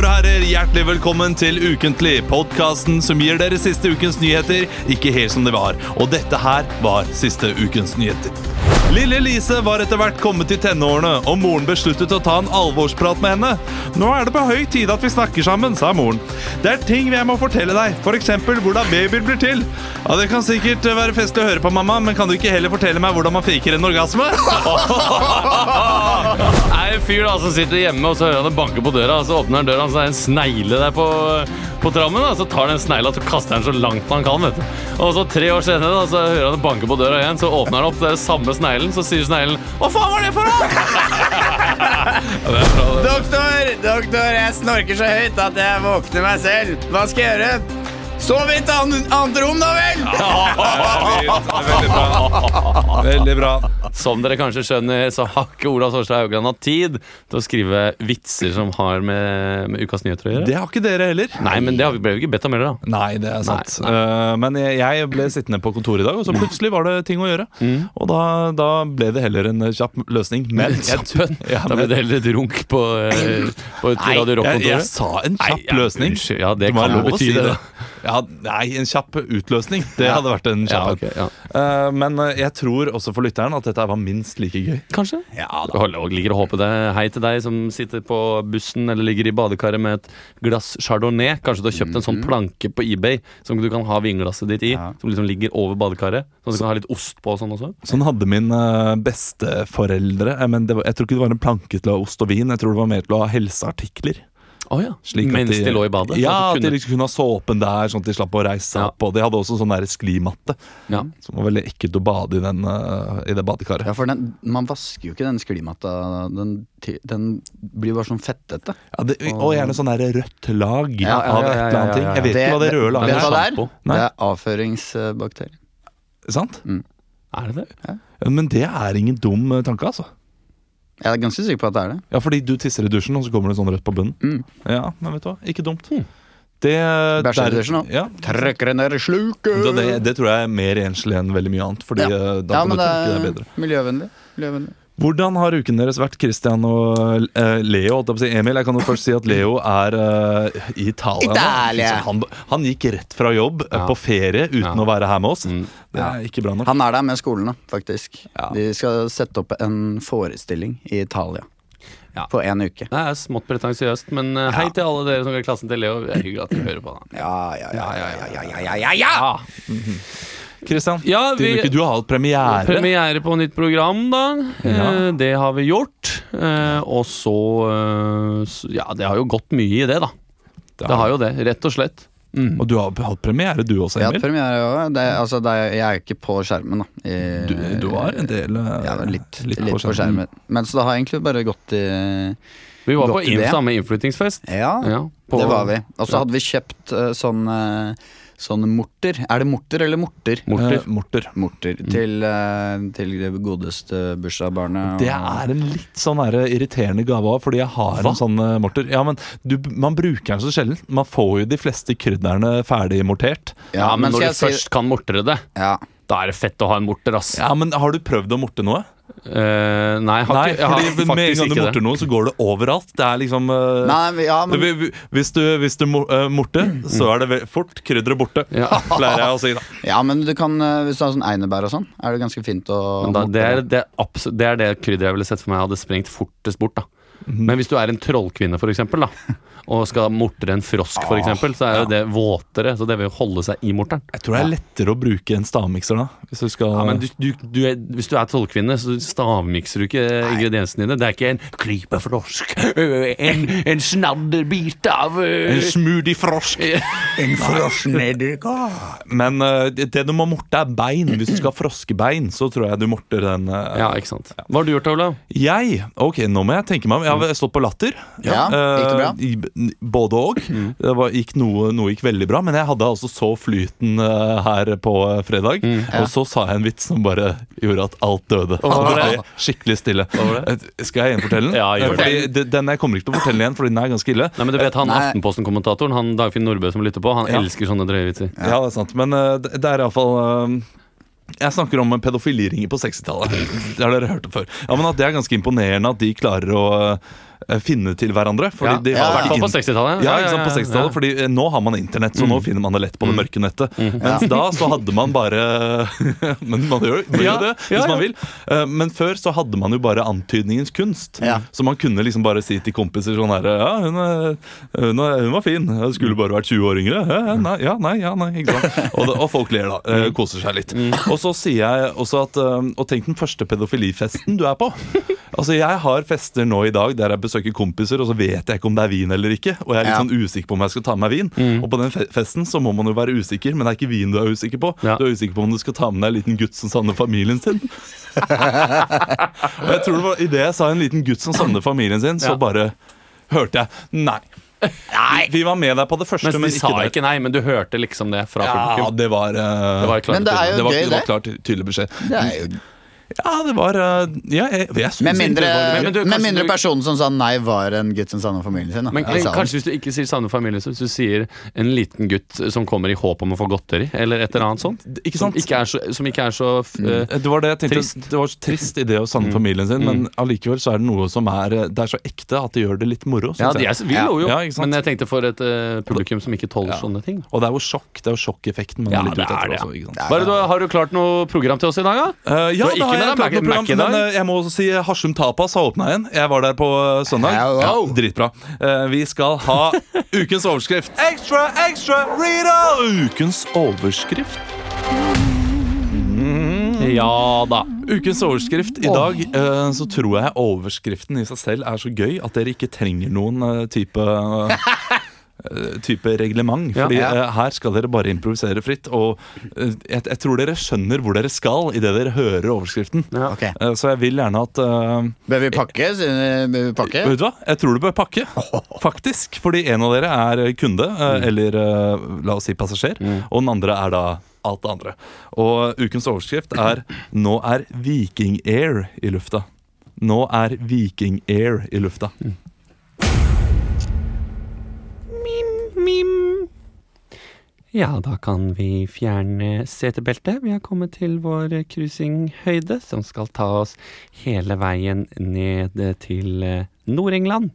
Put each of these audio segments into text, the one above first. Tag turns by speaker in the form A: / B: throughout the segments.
A: hjertelig velkommen til Ukentlig, podkasten som gir dere siste ukens nyheter, ikke helt som det var. Og dette her var siste ukens nyheter. Lille Elise var etter hvert kommet i tenårene, og moren besluttet å ta en alvorsprat med henne. Nå er det på høy tid at vi snakker sammen, sa moren. Det er ting jeg må fortelle deg, f.eks. hvordan babyer blir til. Ja, Det kan sikkert være festlig å høre på, mamma, men kan du ikke heller fortelle meg hvordan man faker en orgasme?
B: er en fyr da som sitter hjemme og så hører han det banker på døra. Og så åpner han døra, og så er det en snegle der på, på trammen. Da. Så tar han den snegla og kaster den så langt han kan. vet du. Og så tre år senere da, så hører han det banker på døra igjen, så åpner han opp det er det samme sneglen. Så sier sneglen 'Hva faen var det for noe?' ja, det er bra, det.
C: Doktor, doktor, jeg snorker så høyt at jeg våkner meg selv. Hva skal jeg gjøre? Sov i et annet, annet rom, da vel!
A: Veldig bra. Veldig bra.
B: Som dere kanskje skjønner, så har ikke Ola Sorstad Haugland hatt tid til å skrive vitser som har med, med ukas nyheter å gjøre.
A: Det har ikke dere heller.
B: Nei, men det har vi- ble vi ikke bedt om heller, da.
A: Nei, det er sant. Eh, men jeg, jeg ble sittende på kontoret i dag, og
B: Mm.
A: så plutselig var det ting å gjøre. Og da, da ble det heller en eh, kjapp løsning. Men jeg,
B: Kjappen.
A: ja,
B: Da ble
A: men-
B: det heller et runk på, eh, på et Radio
A: jeg, jeg
B: Rock-kontoret.
A: sa en kjapp
B: Nei, ja,
A: løsning.
B: unnskyld. Ja, det
A: må
B: kan
A: ha lov å
B: bety det, da.
A: Ja, nei, en kjapp utløsning. Det hadde vært en kjapp
B: Ja,
A: en.
B: ok, ja.
A: Eh, men eh, jeg tror også for lytteren at dette var minst like gøy.
B: Kanskje?
A: Ja,
B: Jeg holder- og ligger og håper det. Hei til deg som sitter på bussen eller ligger i badekaret med et glass chardonnay. Kanskje du har kjøpt en sånn
A: Mhm.
B: planke på eBay som du kan ha vinglasset ditt i. Som liksom ligger over badekaret. Sånn at du kan ha litt ost på og sånn også.
A: Sånn hadde mine besteforeldre. Eh, Men det var, jeg tror ikke det var en planke til å ha ost og vin. Jeg tror det var mer til å ha helseartikler.
B: Oh, ja.
A: Slik at
B: Mens de, lå i badet.
A: Ja, at
B: så at
A: de
B: du kunne,
A: liksom kunne ha såpen der, sånn at de slapp å reise
B: Ja.
A: opp. Og de hadde også sånn der sklimatte,
B: ja.
A: som var veldig ekkelt å bade i, den, eh, i det badekaret.
D: Ja, for den, Man vasker jo ikke den sklimatta. Den, ti- den blir bare sånn fettete.
A: Ja, det, og gjerne sånn der rødt lag
D: Ja, ja,
A: av et
B: ja, ja,
A: eller annet
B: ja,
A: ting.
B: ja, ja.
A: Jeg vet ikke hva det røde laget
D: vet du
A: er.
D: hva det
B: Shampoo.
D: er?
A: Nei.
D: Det er avføringsbakterier.
A: Sant?
B: Er det det?
A: Men det er ingen dum eh, tanke, altså.
D: Jeg er ganske sikker på at det er det.
A: Ja, fordi du tisser i dusjen, og så kommer det sånn rødt på bunnen.
D: Mm.
A: Ja, men vet du hva, ikke dumt. Det, eh,
D: Bæsjer i
A: der-
D: dusjen også.
A: Ja,
D: Trekker den der sluket!
A: Da, det, det tror jeg er mer enslig enn veldig mye annet. Fordi
D: Ja.
A: eh, da
D: ja,
A: kan
D: men
A: du
D: det
A: tolke det
D: er
A: bedre
D: miljøvennlig. miljøvennlig.
A: Hvordan har uken deres vært, Christian og eh, Leo? holdt jeg på å si. Emil, jeg kan jo først si at Leo er eh, i Italia. nå.
D: Italia!
A: Så Han, han gikk rett fra jobb eh,
B: Ja.
A: på ferie uten
B: Ja.
A: å være her med oss.
B: Mm.
A: Det er ikke bra nok.
D: Han er der med skolen, da, faktisk.
A: Ja.
D: De skal sette opp en forestilling i Italia
B: Ja.
D: på én uke.
B: Nei, Det er smått pretensiøst, men eh, hei til alle dere som går i klassen til Leo. Det er hyggelig at dere hører på. Da.
D: Ja, ja, ja, ja, ja, ja, ja, ja, ja,
B: Ja!
A: Christian,
B: Ja,
A: din
B: vi-
A: uke, du har hatt premiere.
B: Premiere på nytt program, da.
A: Ja.
B: Eh, det har vi gjort. Eh, og så eh, s- Ja, det har jo gått mye i det, da.
A: Da-
B: Det har jo det, rett og slett. Mm.
A: Og du har hatt premiere, du også,
D: Jeg har hatt
A: Emil.
D: premiere òg. Det er- Altså, det er- jeg er ikke på skjermen, da. I-
A: Du, du har en del eh,
D: Ja, litt, litt, på skjermen. Men så det har egentlig bare gått i
B: Vi var på
D: Godt idé.
B: in, samme innflyttingsfest.
D: Ja,
B: Ja, på-
D: det var vi. Og
B: Ja.
D: så hadde vi kjøpt eh, sånn, eh, sånn morter. Er det morter eller morter?
B: Morter.
A: Eh, Morter.
D: Morter til, eh, til det godeste bursdagsbarnet. og-
A: Det er en litt sånn der irriterende gave òg, fordi jeg har
B: Hva?
A: en sånn eh, morter. Ja, men du, Man bruker den så sjelden. Man får jo de fleste krydderne ferdig mortert.
B: Ja, men
D: skal
B: når du
D: jeg si-
B: først kan mortere det,
D: ja.
B: da er det fett å ha en morter, ass.
A: Ja, men Har du prøvd å morte noe?
B: Eh, nei, jeg har
A: Nei,
B: ikke, jeg har
A: fordi med en
B: faktisk
A: gang du
B: ikke det.
A: morter noe, så går det overalt. Det er liksom eh,
D: Nei, men- ja, men
A: det, vi- vi- Hvis du, hvis du mo- eh, morter, så er det ve- fort krydderet borte.
B: Ja.
A: Pleier jeg å si, da.
D: Ja, men du kan, eh, hvis du har sånn einebær og sånn, er det ganske fint å
B: Men da, det, er,
D: mortere.
B: det, er abs- det er det krydderet jeg ville sett for meg hadde sprengt fortest bort. da
A: Mhm.
B: Men hvis du er en trollkvinne for eksempel, da, og skal mortere en frosk,
A: Ah,
B: for eksempel, så er jo det våtere. Så det vil jo holde seg i morteren.
A: Jeg tror det er lettere å bruke en stavmikser, da. Hvis du skal
B: Ja, men du, du, du er, hvis du er trollkvinne, så stavmikser du ikke ingrediensene dine. Det er ikke en klype frosk, øh, en, en snadderbit av øh,
A: En smoothie frosk. Men eh, det det du må morte, er bein. Hvis du skal ha froskebein, så tror jeg du morter den. eh,
B: Ja, ikke sant. Hva har du gjort, Olav?
A: Jeg? Ok, nå må jeg tenke meg om. Jeg har stått på latter.
D: Mm. Ja, gikk det bra? Mm.
A: Eh, i- både og. Det var, gikk noe, noe gikk veldig bra, men jeg hadde altså så flyten eh, her på eh, fredag.
D: Mm.
A: Og så sa jeg en vits som bare gjorde at alt døde. Og
B: var
A: det
B: det?
A: ble skikkelig stille.
B: var
A: Eh, Skal jeg gjenfortelle den?
B: Ja, gjør
A: Eh, fordi de- den jeg kommer ikke til å fortelle igjen, for den er ganske ille.
B: Nei, men du vet han
D: Nei.
B: Aftenposten-kommentatoren, han Dagfinn Nordbø som lytter på, han
A: Ja.
B: elsker sånne drøye vitser.
A: Ja, det er sant. Men eh, det det er iallfall eh, Jeg snakker om pedofiliringer på 60-tallet. Det har dere hørt om før. Ja, men at Det er ganske imponerende at de klarer å eh, finne til hverandre. Fordi
E: Ja,
A: de
E: ja,
A: har
E: i hvert
A: ikke
E: fall på
A: inn-
E: 60-tallet.
A: Ja, ikke sant, på 60-tallet, fordi eh, nå har man internett,
E: Mm.
A: så nå finner man det lett på det mørke nettet. Mens da så hadde man bare Men man gjør gjør jo
E: Ja,
A: det
E: ja,
A: hvis man
E: ja.
A: vil. Eh, Men før så hadde man jo bare antydningens kunst.
F: Ja.
A: Så man kunne liksom bare si til kompiser sånn herre Ja, hun, er, hun, er, hun var fin. Jeg skulle bare vært 20 år yngre. Ja, ja, nei, ja, nei, ja, nei. Ikke sant. Og, det, og folk ler, da. eh, Koser seg litt. Og så sier jeg også at eh, Og tenk den første pedofilifesten du er på. Altså, jeg har fester nå i dag der jeg besøker kompiser, og så vet jeg ikke om det er vin eller ikke. Og jeg er litt
F: Ja.
A: sånn usikker på om jeg skal ta med meg vin. Og på den fe- festen så må man jo være usikker, men det er ikke vin du er usikker på.
E: Ja.
A: Du er usikker på om du skal ta med deg en liten gutt som savner familien sin. og jeg tror det var idet jeg sa en liten gutt som savner familien sin, så
E: Ja.
A: bare hørte jeg nei.
F: Nei.
A: Vi var med deg på det første,
E: Mens de
A: men
E: sa
A: ikke der.
E: ikke nei, men du hørte liksom det fra
A: Ja,
E: publikum.
A: det var, eh,
E: Det var klart.
A: det
E: Men
A: var,
E: det
A: det
F: er jo
A: var,
F: gøy, det.
A: klar, ty- tydelig beskjed.
D: Det er jo
A: Ja, det var eh, ja, jeg, jeg synes
D: Med
A: egentlig
D: mindre,
A: det var gøy.
E: Men- men du,
D: med
E: kanskje
D: mindre
E: du-
D: personen som sa nei, var en gutt som savna familien sin. Da.
E: Men,
D: I
E: men
D: salen.
E: kanskje hvis du ikke sier samme familie, så hvis du sier en liten gutt som kommer i håp om å få godteri, eller et eller annet sånt.
A: Ikke sant? Mm.
E: Som ikke er så, som ikke er så f- eh,
A: Det var det jeg tenkte.
E: Trist. Mm.
A: Det var så trist i det å savne familien sin, men allikevel så er det noe som er eh, Det er så ekte at det gjør det litt moro.
E: Ja,
A: synes
E: de
A: jeg.
E: er, Altså, vi lo jo,
A: Ja, ikke sant?
E: men jeg tenkte for et eh, publikum som ikke tåler sånne ting.
A: Og det er jo sjokk. Det er jo sjokkeffekten man
E: Ja,
A: er litt
E: det
A: ute
E: er
A: etter
E: det, ja.
A: også. Ikke sant?
E: Hva er det du, har du klart noe program til oss i dag, da?
A: Eh, ja,
E: Du
A: da
E: har ikke
A: har jeg klart noe
E: med deg Mac-
A: program,
E: Mac i dag?
A: men eh, jeg må også si eh, Harsum Tapas har åpna igjen. Jeg var der på eh, søndag.
D: Hello.
A: dritbra. Eh, vi skal ha ukens overskrift. Extra, extra, Rita! Ukens overskrift. Mm.
E: Ja da.
A: Ukens overskrift. I dag eh, så tror jeg overskriften i seg selv er så gøy at dere ikke trenger noen eh, type eh, Type reglement.
E: Ja.
A: Fordi
E: Ja.
A: eh, her skal dere bare improvisere fritt. Og eh, jeg, jeg tror dere skjønner hvor dere skal idet dere hører overskriften.
E: Ja.
D: Ok.
A: Eh, så jeg vil gjerne at eh,
D: Bør vi pakke? Signe? Bør vi pakke?
A: Vet du hva? Jeg tror du bør pakke, faktisk. Fordi en av dere er kunde, eh,
E: Mm.
A: eller eh, la oss si passasjer, og den andre er da alt det andre. Og ukens overskrift er 'Nå er Viking Air i lufta'. Nå er Viking Air i lufta.
E: Mm. Ja, da kan vi fjerne setebeltet. Vi har kommet til vår cruisinghøyde, som skal ta oss hele veien ned til eh, Nord-England.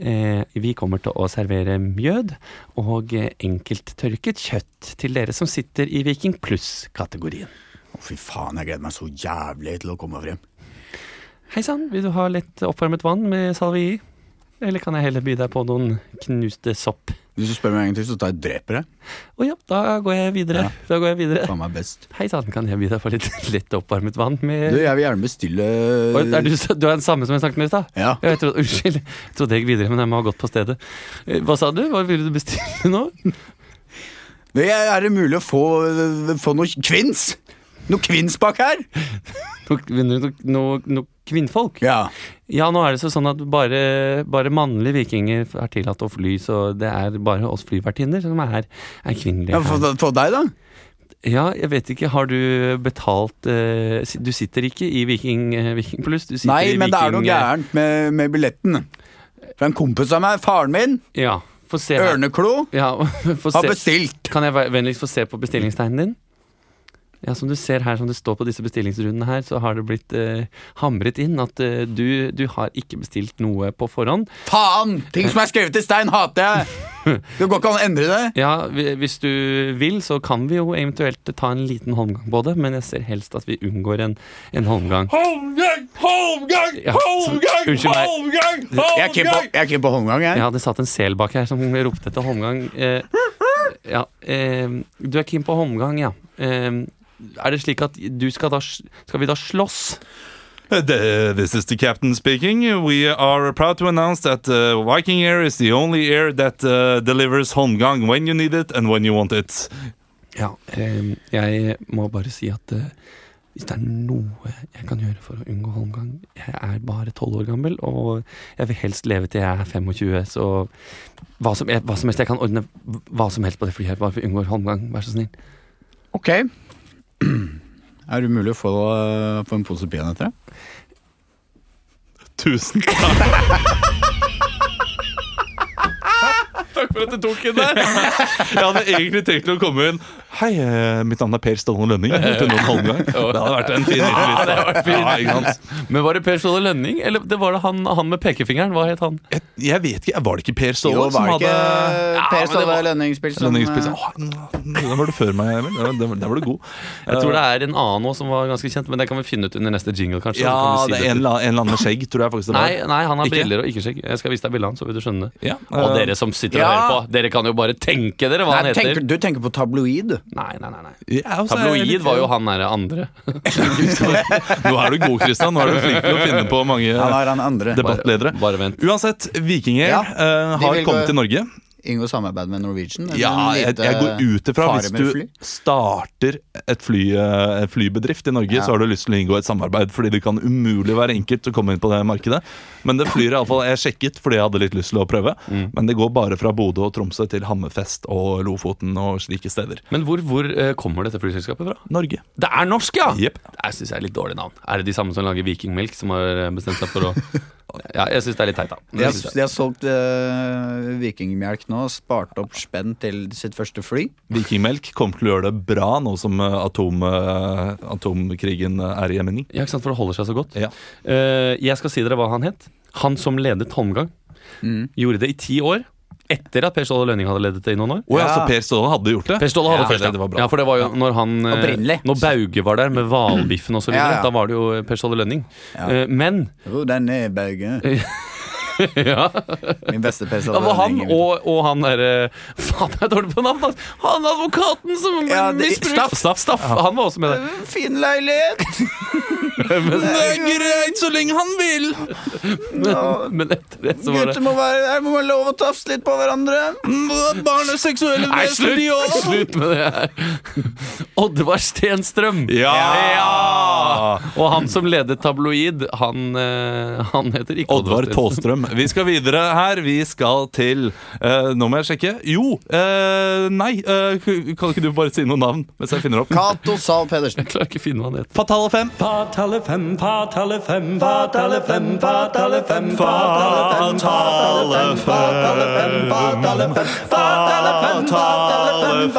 E: Eh, vi kommer til å servere mjød og eh, enkelttørket kjøtt til dere som sitter i Viking pluss-kategorien.
D: Å, fy faen, jeg gleder meg så jævlig til å komme frem.
E: Hei sann, vil du ha litt oppvarmet vann med salve i? Eller kan jeg heller by deg på noen knuste sopp?
D: Hvis du spør meg en gang til, så tar jeg og dreper deg.
E: Å ja, da går jeg videre.
D: Ja.
E: Da går jeg videre.
D: Faen meg best.
E: Hei sann, kan jeg by deg på litt lett oppvarmet vann med
D: Du, jeg vil gjerne bestille
E: Oi, er du, s- du er den samme som jeg snakket med i stad?
D: Ja.
E: Ja, jeg trodde, unnskyld, jeg trodde jeg gikk videre, men jeg må ha gått på stedet. Eh, Hva sa du? Hva ville du bestille nå?
D: Men jeg- Er det mulig å få, få noe kvinns? Noe kvinns bak her?
E: Noe no, no, no, kvinnfolk?
D: Ja.
E: Ja, nå er det så sånn at bare, bare mannlige vikinger er tillatt å fly, så det er bare oss flyvertinner som er, er kvinnelige.
D: ja få, få deg, da.
E: Ja, jeg vet ikke. Har du betalt eh, si- Du sitter ikke i Viking, eh, Viking Pluss? Du sitter
D: Nei,
E: i
D: men det er noe
E: Viking, eh,
D: gærent med, med billetten. For en kompis av meg, faren min,
E: Ja, få se her.
D: Ørneklo,
E: Ja, få
D: har
E: se.
D: bestilt.
E: Kan jeg ve- vennligst få se på bestillingstegnen din? Ja, Som du ser her, som det står på disse bestillingsrundene her, så har det blitt eh, hamret inn at eh, du, du har ikke bestilt noe på forhånd.
D: Faen! Ting som er skrevet i stein, hater jeg! Det går ikke an å endre det.
E: Ja, vi- Hvis du vil, så kan vi jo eventuelt ta en liten holmgang på det, men jeg ser helst at vi unngår en, en holmgang.
A: Holmgang, Holmgang,
E: Ja, så- Holmgang, unnskyld meg.
A: Holmgang!
D: Jeg er keen på, jeg er keen på håndgang, jeg.
E: Ja, det satt en sel bak her som ropte etter holmgang. Eh, ja, eh, du er keen på holmgang, ja. Eh, er det slik at du skal da Skal vi da slåss?
A: The- Eh, This is the captain speaking. We are proud to announce that uh, Viking Air is the only air that uh, delivers Holmgang when you need it and when you want it.
E: Ja, eh, jeg må bare si at eh, hvis det er noe jeg kan gjøre for å unngå holmgang Jeg er bare 12 år gammel, og jeg vil helst leve til jeg er 25, så hva som, jeg, hva som helst jeg kan ordne hva som helst på det flyet her, bare for å unngå holmgang, vær så snill.
D: Ok. Er det mulig å få, få en pose peanøtter? da?
A: Tusen takk. Takk for at du tok den der. Jeg hadde egentlig tenkt å komme inn Hei, eh, mitt navn er Per Stålen Lønning. Jeg heter Noen Holmgang. Det hadde vært en fin
B: det hadde vært
A: innflytelse.
B: fint.
A: Ja, ikke sant?
B: Men var det Per Ståle Lønning, eller det var det han, han med pekefingeren? Hva het han?
A: Jeg, jeg vet ikke, var det ikke Per
D: Jo,
A: Stålen som
D: var det
A: hadde
D: ikke
B: men
D: Per
B: det
D: Ståle
B: var-
D: Lønningspils som
A: Lønningspizza?
D: eh,
A: Åh, Den var du før meg, Emil. Den- Den den var du god.
B: Jeg tror det er en annen også som var ganske kjent, men det kan vi finne ut under neste jingle, kanskje.
A: Ja,
B: så kan vi
A: det
B: si
A: er en
B: det til-
A: eller annen- en eller annen med skjegg, tror jeg faktisk det var.
B: Nei, nei, han har
A: Ikke?
B: briller og ikke skjegg. Jeg skal vise deg bildet hans, så vil du skjønne det.
A: Ja,
B: Og
A: eh,
B: dere som sitter og
D: Ja.
B: hører på, dere kan jo bare tenke dere hva
D: Nei,
B: han heter.
D: tenker, du tenker på tabloid? du.
B: Nei, nei, nei, nei.
A: ja, og så er jeg litt-
B: Tabloid var jo han derre andre.
A: Nå er du god, Christian. Nå er du flink til å finne på mange
D: Han har han andre.
A: debattledere.
B: Bare vent.
A: Uansett, vikinger
D: Ja,
A: eh,
D: de
A: har
D: vil gå-
A: kommet til Norge.
D: Inngå samarbeid med Norwegian? eller
A: Ja,
D: en
A: jeg,
D: lite
A: jeg går ut ifra
D: fare
A: hvis
D: med
A: du
D: fly?
A: starter et fly, eh, en flybedrift i Norge, så har du lyst til å inngå et samarbeid, fordi det kan umulig være enkelt å komme inn på det markedet. Men det flyr iallfall jeg sjekket fordi jeg hadde litt lyst til å prøve. Men det går bare fra Bodø og Tromsø til Hammerfest og Lofoten og slike steder.
B: Men hvor, hvor eh, kommer dette flyselskapet fra?
A: Norge.
B: Det er norsk, ja!
A: Jepp.
B: Det syns jeg er litt dårlig navn. Er det de samme som lager Vikingmelk, som har eh, bestemt seg for å Ja, jeg syns det er litt teit, da.
D: De
B: Men jeg
D: har,
B: synes det.
D: de har solgt eh, vikingmelk nå, spart opp spenn til sitt første fly.
A: Vikingmelk kommer til å gjøre det bra nå som eh, atom, eh, atomkrigen eh, er i emning.
B: Ja, ikke sant, for det holder seg så godt.
A: Ja.
B: Eh, jeg skal si dere hva han het. Han som ledet Holmgang, gjorde det i ti år. Etter at Per Ståle Lønning hadde ledet det i noen år.
A: Å ja,
D: Ja.
A: så Per Ståle hadde gjort det?
B: Per Ståle hadde
A: ja,
B: først,
A: det, det var bra.
B: ja, for det var jo når han eh,
D: Opprinnelig.
B: Når Bauge var der med hvalbiffen osv.
D: Ja,
B: videre
D: ja.
B: Da var det jo eh, Per Ståle Lønning.
D: Ja.
B: Eh, men
D: Ro deg ned, Bauge.
B: ja,
D: Min beste PC.
B: det var han og, og han derre Faen, jeg er dårlig på navn! ass. Han advokaten som
D: Ja, det-
B: misbruk-
D: Staff.
B: Staff, staff. Han var også med der.
D: Fin leilighet!
A: Det er greit så lenge han vil!
B: Men, men etter det så var det Mm.
D: Gutter må være her, må være lov å tafse litt på hverandre.
A: Barn er seksuelle
B: Nei, slutt, slutt med det her! Oddvar Stenstrøm.
A: Ja!
B: Og han som ledet tabloid, han, eh, han heter ikke
A: Oddvar
B: Stenstrøm.
A: Tåstrøm. Vi skal videre her. Vi skal til eh, Nå må jeg sjekke. Jo! eh, nei, eh, kan ikke du bare si noen navn mens jeg finner opp?
D: Cato Zahl Pedersen.
B: Jeg klarer ikke å finne hva han heter.
A: Fatale fem.
G: Fatale fem, fatale fem, fatale fem, fatale fem, fatale fem, fatale fem, fatale fem, fatale fem, fatale fem, fatale fem, fatale fem, fatale fem,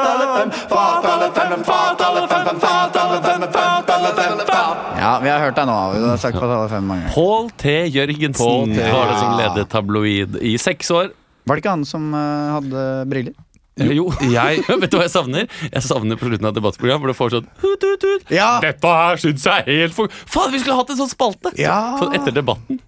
G: fatale fem, fatale fem, fatale fem, fatale fem, fatale fem.
D: Ja, vi har hørt deg nå. Vi har sagt Fatale fem mange ganger.
B: Pål T. Jørgensen
A: Paul T.
B: var det som ledet tabloid i seks år.
D: Var det ikke han som eh, hadde briller?
B: Eh, Jo, jeg Vet du hva jeg savner? Jeg savner på slutten av et debattprogram hvor det får sånn hut, hut, hut.
D: Ja!
B: Dette her syns jeg er helt for Faen, vi skulle hatt en sånn spalte!
D: Ja.
B: Sånn etter debatten.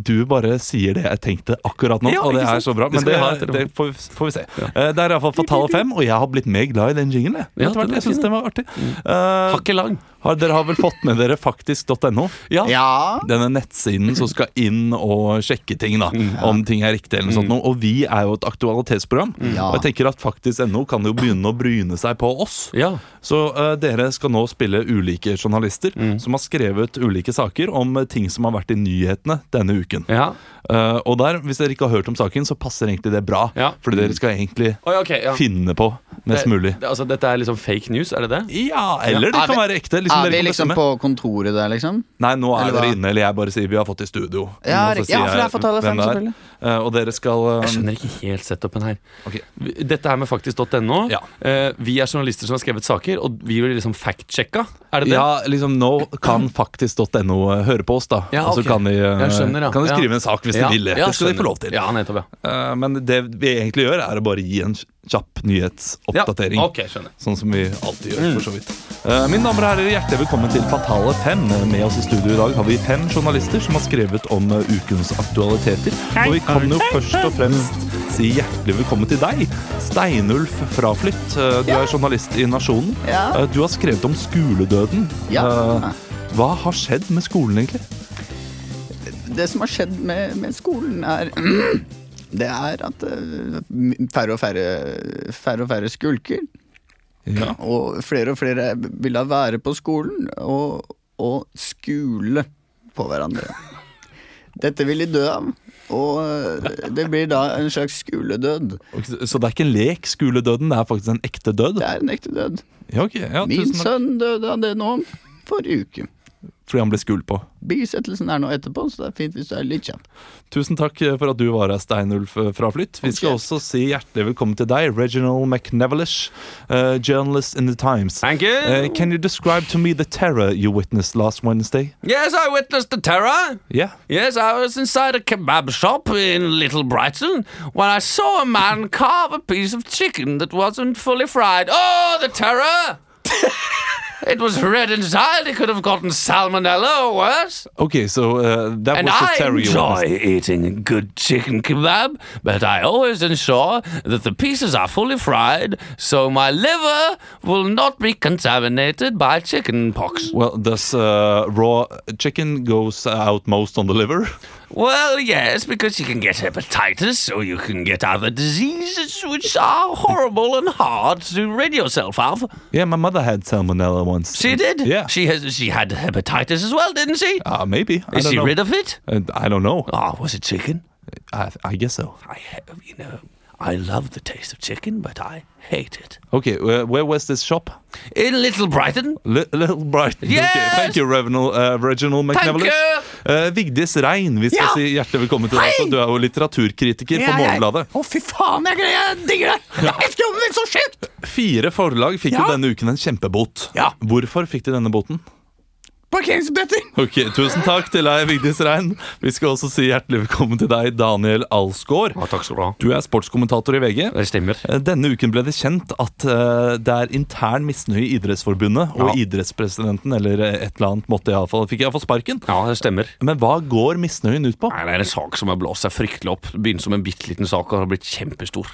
A: Du bare sier det jeg tenkte akkurat nå,
B: Ja,
A: og det
B: ikke
A: er
B: sant?
A: så bra.
B: Det
A: Men
B: skal
A: det,
B: vi ha etterpå.
A: det får, vi- får vi se. Eh, det er iallfall Fatale fem, og jeg har blitt mer glad i den jinglen. Jeg,
B: Ja,
A: Etter hvert,
B: den er
A: jeg syns
B: fin. Mm.
A: den var artig. Eh,
B: Hakket lang.
A: har, dere har vel fått med dere faktisk.no?
B: Ja.
D: Ja.
A: denne nettsiden som skal inn og sjekke ting, da.
D: Mm,
A: Om ting er riktig eller noe sånt. noe. Og vi er jo et aktualitetsprogram.
D: Mm. Ja.
A: Og jeg tenker at faktisk NO kan jo begynne å bryne seg på oss.
B: ja.
A: Så eh, dere skal nå spille ulike journalister
D: Mm.
A: som har skrevet ulike saker om eh, ting som har vært i nyhetene denne uken.
B: ja.
A: Eh, og der, hvis dere ikke har hørt om saken, så passer egentlig det bra.
B: Ja.
A: Fordi dere skal egentlig
B: Oi, ok, ja.
A: finne på mest mulig.
B: Det, altså, dette er liksom fake news, er det det?
A: Ja, eller det
D: Ja. Er
A: kan
D: vi-
A: være ekte. Liksom,
D: Er
A: dere
D: vi
A: kan
D: liksom
A: bestemme.
D: på kontoret der, liksom?
A: Nei, nå er
D: Eller
A: dere
D: hva?
A: inne, eller jeg bare sier vi har fått i studio.
D: Ja,
A: Og så
D: riktig.
A: sier
D: Ja, for det er
A: jeg
D: Fatale
A: hvem
D: Fem,
A: det er.
D: selvfølgelig.
A: Eh, Og dere skal eh,
B: Jeg skjønner ikke helt setupen her.
A: Ok.
B: Vi- Dette her med faktisk.no.
A: Ja.
B: Eh, vi er journalister som har skrevet saker, og vi blir liksom fact-sjekka. Er det det?
A: Ja, liksom nå kan faktisk.no eh, høre på oss, da.
B: Ja,
A: Og så
B: ok.
A: kan de, eh,
B: Jeg skjønner, ja.
A: kan de
B: Ja.
A: skrive en sak hvis
B: Ja,
A: de vil det.
B: ja,
A: det skal de
B: skjønner.
A: få lov til.
B: Ja, nettopp, ja.
A: Eh, Men det vi egentlig gjør, er å bare gi en kjapp nyhetsoppdatering.
B: Ja, ok, skjønner.
A: Sånn som vi alltid gjør, for så vidt. Eh, Mine damer og herrer, hjertelig velkommen til Fatale fem. Med oss i studio i dag har vi fem journalister som har skrevet om eh, ukens aktualiteter. Og vi kan jo først og fremst si hjertelig velkommen til deg, Steinulf Fraflytt. Eh, Du er journalist i Nasjonen.
D: Ja.
A: Eh, Du har skrevet om skoledøden.
D: Ja.
A: Eh, Hva har skjedd med skolen, egentlig?
D: det som har skjedd med, med skolen, er Det er at eh, færre og færre, færre og færre skulker.
A: Ja.
D: Og flere og flere vil da være på skolen og, og skule på hverandre. Dette vil de dø av, og eh, det blir da en slags skuledød.
A: Så det er ikke en lek, skoledøden. Det er faktisk en ekte død?
D: Det er en ekte død.
A: Ja, ok. Ja,
D: Min
A: tusen takk.
D: sønn døde av det nå forrige uke.
A: fordi han ble skuld på.
D: Bisettelsen er nå etterpå, så det er fint hvis du er litt kjapp.
A: Tusen takk eh, for at du var her, Steinulf fra Flytt. Vi skal
D: Ok.
A: også si hjertelig velkommen til deg, Reginald McNevelish, eh, journalist in the Times.
B: Thank you.
A: Eh, can you describe to me the terror you witnessed last Wednesday?
B: Yes, I witnessed the terror.
A: Yeah.
B: Yes, I was inside a kebab shop in Little Brighton when I saw a man carve a piece of chicken that wasn't fully fried. Oh, the terror! it was red inside. It could have gotten salmonella or worse.
A: Okay, so uh, that
B: And
A: was the
B: I
A: terror you
B: enjoy
A: witnessed.
B: eating good chicken kebab, but I always ensure that the pieces are fully fried so my liver will not be contaminated by chicken pox.
A: Well, does uh, raw chicken goes out most on the liver?
B: Well, yes, because you can get hepatitis or you can get other diseases which are horrible and hard to rid yourself of.
A: Yeah, my mother had salmonella once.
B: She did.
A: Yeah.
B: She has. She had hepatitis as well, didn't she?
A: Uh, maybe. I
B: Is
A: don't
B: she
A: know.
B: rid of it?
A: Uh, I don't know.
B: Ah, was it chicken?
A: I, I guess so.
B: I, ha- you know, I love the taste of chicken, but I hate it.
A: Okay, uh, where was this shop?
B: In Little Brighton,
A: Li- Little Brighton. Okay,
B: Yes!
A: thank you, Reginald, uh, Reginald McNevelish. Eh, Vigdis Rein, vi skal
C: Ja!
A: si hjertelig velkommen til deg.
C: Hei!
A: også. Du er jo litteraturkritiker
C: Ja,
A: for
C: jeg-
A: Morgenbladet.
C: Å, fy faen, jeg, gleder- jeg digger deg! Jeg elsker jobben din så sjukt!
A: Fire forlag fikk
C: Ja.
A: jo denne uken en kjempebot.
C: Ja.
A: Hvorfor fikk de denne boten?
C: Parkeringsbøtter!
A: Ok, Tusen takk til deg, Vigdis Rein. Vi skal også si hjertelig velkommen til deg, Daniel Alsgaard.
B: takk skal du ha.
A: Du er sportskommentator i VG.
B: Det stemmer.
A: Eh, Denne uken ble det kjent at eh, det er intern misnøye i Idrettsforbundet, og
B: Ja.
A: idrettspresidenten eller eh, et eller annet måtte iallfall, fikk iallfall sparken.
B: Ja, det stemmer.
A: Men hva går misnøyen ut på?
B: Nei, Det er en sak som har blåst seg fryktelig opp. Begynte som en bitte liten sak og har blitt kjempestor.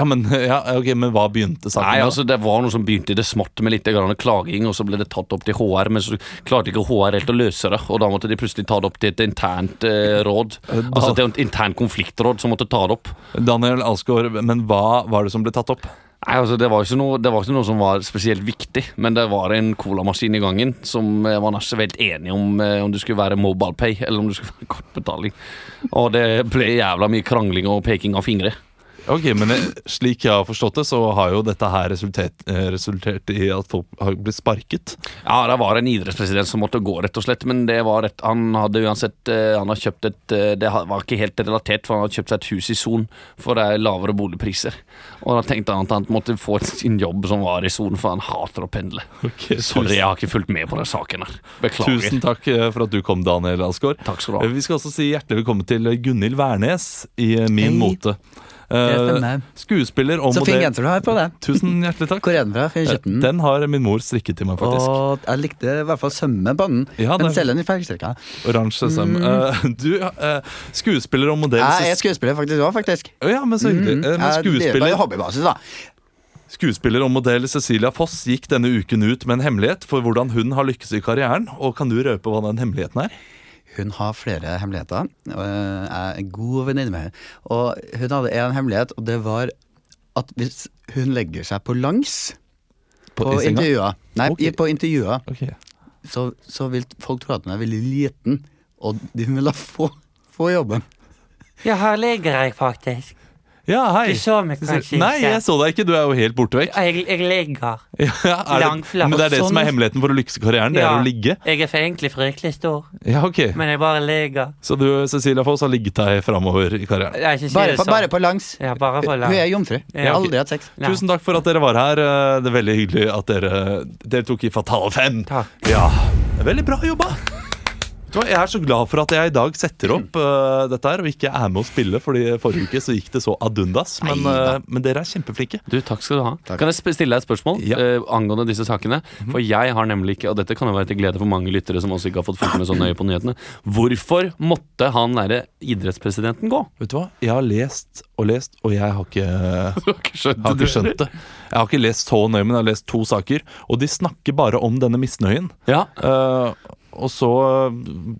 A: Ja, men, ja, ok, men hva begynte saken
B: Nei,
A: med?
B: altså Det var noe som begynte i det smått med litt grann klaging, og så ble det tatt opp til HR, men så klarte ikke HR helt å løse det. Og da måtte de plutselig ta det opp til et internt eh, råd. Altså til et internt konfliktråd som måtte ta det opp.
A: Daniel Alsgaard, men hva var det som ble tatt opp?
B: Nei, altså Det var ikke noe, det var ikke noe som var spesielt viktig, men det var en colamaskin i gangen som eh, var nesten helt enig om eh, om det skulle være MobilePay eller om det skulle være kortbetaling. Og det ble jævla mye krangling og peking av fingre.
A: Ok, men eh, slik jeg har forstått det, så har jo dette her resultert, eh, resultert i at folk har blitt sparket.
B: Ja, det var en idrettspresident som måtte gå, rett og slett. Men det var et, han hadde uansett eh, Han har kjøpt et eh, Det ha- var ikke helt relatert, for han hadde kjøpt seg et hus i Son for det er lavere boligpriser. Og da tenkte han at han måtte få sin jobb som var i Son, for han hater å pendle.
A: Ok,
B: Sorry,
A: tusen-
B: jeg har ikke fulgt med på den saken her. Beklager.
A: Tusen takk eh, for at du kom, Daniel Alsgaard.
B: Takk skal du
A: Eh,
B: ha.
A: Vi skal også si hjertelig velkommen til Gunhild Wærnes i eh, Min
D: Hei.
A: mote. Eh,
D: stemmer.
A: skuespiller og
D: Så fin
A: modell.
D: genser du har på deg.
A: Tusen hjertelig takk.
D: Hvor er den fra? Har
A: Eh,
D: jeg kjøpt den?
A: Den har min mor strikket til meg, faktisk.
D: Og jeg likte i hvert fall sømmen på den.
A: Ja,
D: men
A: det-
D: selv den i fargestreka.
A: Oransje søm. Eh, du, eh, skuespiller og modell
D: Mm. Jeg er skuespiller faktisk òg, faktisk.
A: Å
D: Mm.
A: Ja, men så hyggelig. Eh, men
D: Jeg driver på
A: skuespiller,
D: hobbybasis, da.
A: Skuespiller og modell Cecilia Foss gikk denne uken ut med en hemmelighet for hvordan hun har lykkes i karrieren. Og Kan du røpe hva den hemmeligheten er?
D: Hun har flere hemmeligheter. og Jeg er en god venninne med henne. Og hun hadde en hemmelighet, og det var at hvis hun legger seg på langs på,
A: i senga?
D: intervjuer, nei,
A: Ok.
D: i- på intervjuer,
A: Ok.
D: så, så vil folk tro at hun er veldig liten, og de vil da få, få jobben.
H: Ja, her ligger jeg faktisk.
A: Ja, hei.
H: Du så meg kanskje
A: Nei, jeg så deg ikke. Du er jo helt borte vekk.
H: Jeg, jeg ligger.
A: Ja, er det,
H: Langflat.
A: men det er det
D: Sånn-
A: som er hemmeligheten for å lykkes i karrieren. Det er å ligge.
H: Jeg er egentlig fryktelig stor,
A: Ja, ok.
H: men jeg bare ligger.
A: Så du, Cecilia Foss, har ligget deg framover i karrieren.
H: Jeg er ikke si
D: Bare
H: det
D: på,
H: sånn.
D: bare på langs.
H: Ja, bare på
D: Hun
H: lang.
D: er jomfru. Hun
H: Ja,
D: har
H: ok.
D: aldri hatt sex.
H: Nei.
A: Tusen takk for at dere var her. Eh, Det er veldig hyggelig at dere deltok i Fatale fem.
H: Takk.
A: Ja. Veldig bra jobba! Vet du hva, Jeg er så glad for at jeg i dag setter opp eh, dette her og ikke er med å spille. Fordi forrige uke så gikk det så ad undas. Men, eh, men dere er kjempeflinke.
B: Du, takk Mhm. skal du ha. Kan jeg sp- stille deg et spørsmål
A: Ja.
B: eh, angående disse sakene? For jeg har nemlig ikke, og dette kan jo være til glede for mange lyttere som også ikke har fått fulgt med så nøye på nyhetene, hvorfor måtte han derre idrettspresidenten gå?
A: Vet du hva? Jeg har lest og lest, og jeg har ikke, jeg
B: Du har ikke skjønt
A: har ikke skjønt det. Jeg har ikke lest så nøye, men jeg har lest to saker. Og de snakker bare om denne misnøyen.
B: Ja.
A: Eh, og så eh,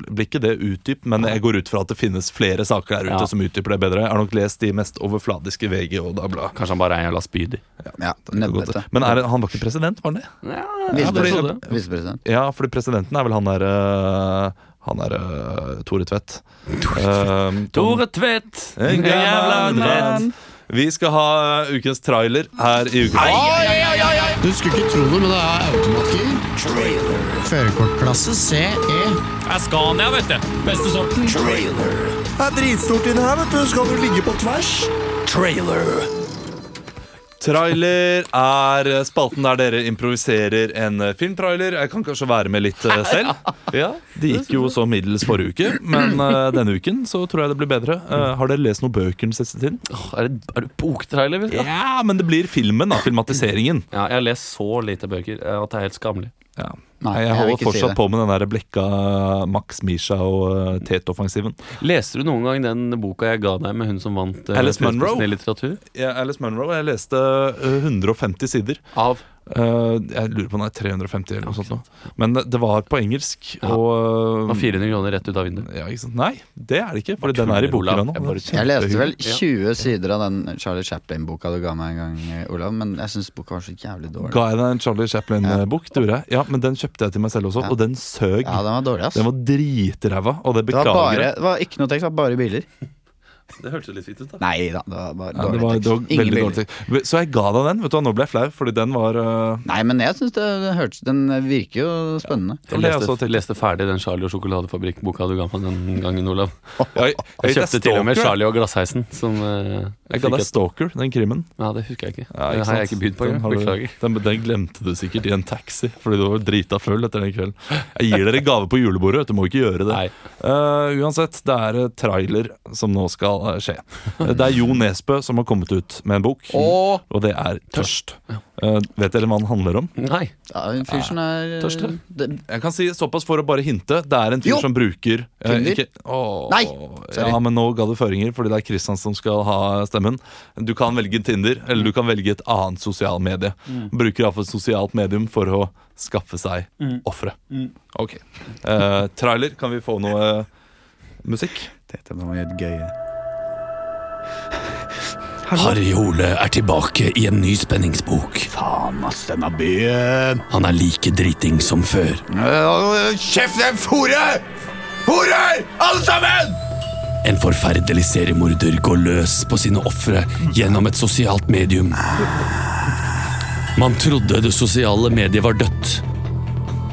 A: blir ikke det utdypt, men jeg går ut fra at det finnes flere saker der ute
B: Ja.
A: som utdyper det bedre. Jeg har nok lest de mest overfladiske VG og Dagbladet.
B: Kanskje han bare er en jævla spydig.
D: Ja,
A: Godt.
D: Nebbete.
A: Men er, det- han var ikke president, var han det?
B: jeg trodde det.
D: Visepresident.
A: Ja, fordi presidenten er vel han der eh, Han er eh, Tore Tvedt. Eh,
B: Tore Tvedt,
A: En gammel mann. Vi skal ha ukens trailer her i uken.
D: Du skulle ikke tro det, men det er automatgir.
I: Førerkortklasse CE.
A: E.
B: er Scania, vet du. Beste sorten.
J: Det er dritstort inni her, vet du. Skal du ligge på tvers?
A: Trailer er eh, spalten der dere improviserer en eh, filmtrailer. Jeg kan kanskje være med litt eh, selv.
B: Ja.
A: Det gikk jo så middels forrige uke, men eh, denne uken så tror jeg det blir bedre. Eh, har dere lest noen bøker den siste tiden?
B: Åh, Er det, er det boktrailer? vet du?
A: Ja, men det blir filmen, da. Filmatiseringen.
B: Ja, jeg har lest så lite bøker eh, at det er helt skammelig.
A: Ja.
D: Nei,
A: Jeg
D: vil
A: holder
D: ikke si
A: fortsatt
D: det.
A: på med den der blekka Max Misha og eh, Tet-offensiven.
B: Leste du noen gang den boka jeg ga deg med hun som vant eh,
A: Alice
B: Prisen
A: Munro?
B: i litteratur?
A: Ja, Alice Munro. Jeg leste eh, 150 sider.
B: Av
A: Eh, jeg lurer på om det er 350 eller noe sånt. nå. Men det, det var på engelsk.
B: Ja.
A: Og, eh,
B: av 400 kroner rett ut av vinduet.
A: ja, ikke sant? Nei, det er det ikke, Fordi den er i
B: tuller,
A: bokhylla
B: Olav.
A: nå.
B: Jeg bare
A: Det er
D: Jeg leste vel
B: Ja.
D: 20 sider av den Charlie Chaplin-boka du ga meg en gang, Olav, men jeg syns boka var så jævlig
A: kjempe-
D: dårlig.
A: Ga jeg deg en Charlie Chaplin-bok? det gjorde jeg Ja, Men den kjøpte jeg til meg selv også,
D: Ja.
A: og den søg.
D: Ja, den var dårlig, ass.
A: Den var dritræva, og det
D: Det var,
A: beklager
D: bare,
A: jeg.
D: det var ikke noe tekst, det var bare biler.
B: Det hørtes litt fint ut, da.
D: Nei da, det var bare
A: Ja, det
D: dårlig
A: var,
D: tekst.
A: det var
D: Ingen
A: veldig
D: biler.
A: dårlig tekst. Så jeg ga deg den. Vet du, hva, Nå ble jeg flau, fordi den var eh,
D: Nei, men jeg syns den hørtes Den virker jo spennende.
B: Jeg
A: Det er altså også
B: leste, leste ferdig den Charlie og sjokoladefabrikk-boka du ga meg den gangen, Olav.
A: Jeg,
B: Jeg
A: jeg,
B: kjøpte til og med
A: Stalker,
B: Charlie og Glassheisen. Som, eh,
A: jeg ga
B: fikk
A: deg
B: et-
A: Stalker, den krimmen.
B: Ja, det husker jeg ikke.
A: Ja,
B: det har jeg
A: sant?
B: ikke bydd på
A: Den
B: engang.
A: har du-
B: Beklager.
A: Den, den glemte du sikkert i en taxi, fordi du var drita full etter den kvelden. Jeg gir dere gave på julebordet, vet du må ikke gjøre det.
B: Nei.
A: Eh, uansett, det er eh, trailer som nå skal eh, skje. Eh, Det er Jo Nesbø som har kommet ut med en bok,
B: Og
A: og det er Tørst. Eh, vet dere hva den handler om?
B: Nei.
D: Ja, en fyr som er
B: Tørst, eller?
D: det,
A: Jeg kan si såpass for å bare hinte. Det er en fyr
D: Jo.
A: som bruker eh,
D: Tinder.
A: ikke- Åh,
D: Nei, sorry.
A: Ja, men nå ga du føringer, fordi det er Kristian som skal ha stemmen. Du kan velge Tinder, eller du kan velge et annet sosialmedie.
D: Mm.
A: Bruker iallfall et sosialt medium for å skaffe seg
D: Mm.
A: ofre. Ok. Eh, trailer, kan vi få noe eh, musikk?
D: Dette må være gøy.
E: Harry Hole er tilbake i en ny spenningsbok.
D: Faen, ass, denne byen!
E: Han er like driting som før.
C: Øh, Kjeft dem fore! Horer! Alle sammen!
E: En forferdelig seriemorder går løs på sine ofre gjennom et sosialt medium. Man trodde det sosiale mediet var dødt.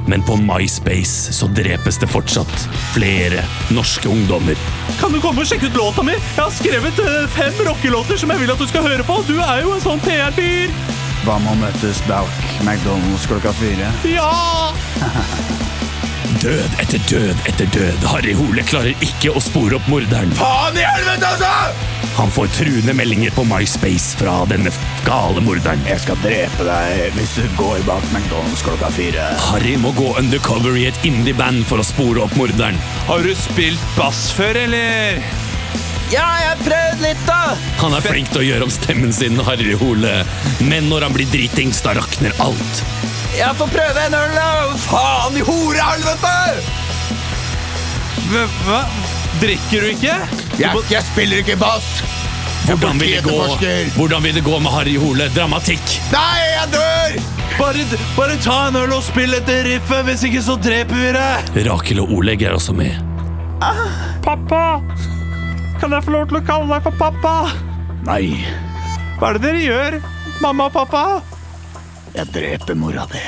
E: Men på MySpace så drepes det fortsatt flere norske ungdommer.
A: Kan du komme og sjekke ut låta mi? Jeg har skrevet eh, fem rockelåter som jeg vil at du skal høre på. Du er jo en sånn PR-fyr.
D: Hva med å møtes bak McDonald's klokka fire?
A: Ja!
E: Død etter død etter død. Harry Hole klarer ikke å spore opp morderen.
C: Faen i helvete, altså!
E: Han får truende meldinger på MySpace fra denne gale morderen.
D: Jeg skal drepe deg hvis du går bak McDonald's klokka fire.
E: Harry må gå undercover i et indie-band for å spore opp morderen.
A: Har du spilt bass før, eller?
E: Han er flink til å gjøre om stemmen sin, Harry Hole. Men når han blir dritings, da rakner alt.
C: Faen i horehelvete!
A: Hva- Hva? Drikker du ikke?
C: Jeg, jeg spiller ikke bass!
E: Hvordan vil det gå, Hvordan vil det gå med Harry Hole? Dramatikk.
C: Nei, jeg dør!
A: Bare, bare ta en øl og spill etter riffet, hvis ikke så dreper vi deg!
E: Rakel og Oleg er også med.
A: Pappa! Kan jeg få lov til å kalle deg for pappa?
D: Nei,
A: Hva er det dere gjør, mamma og pappa?
D: jeg dreper mora di.